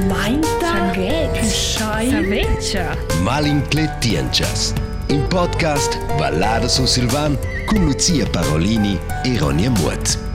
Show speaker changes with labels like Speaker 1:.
Speaker 1: Pishmainta, Pishai,
Speaker 2: Malincletianchas. In podcast Ballada su Silvan con Lucia Parolini e Ronia Muoz.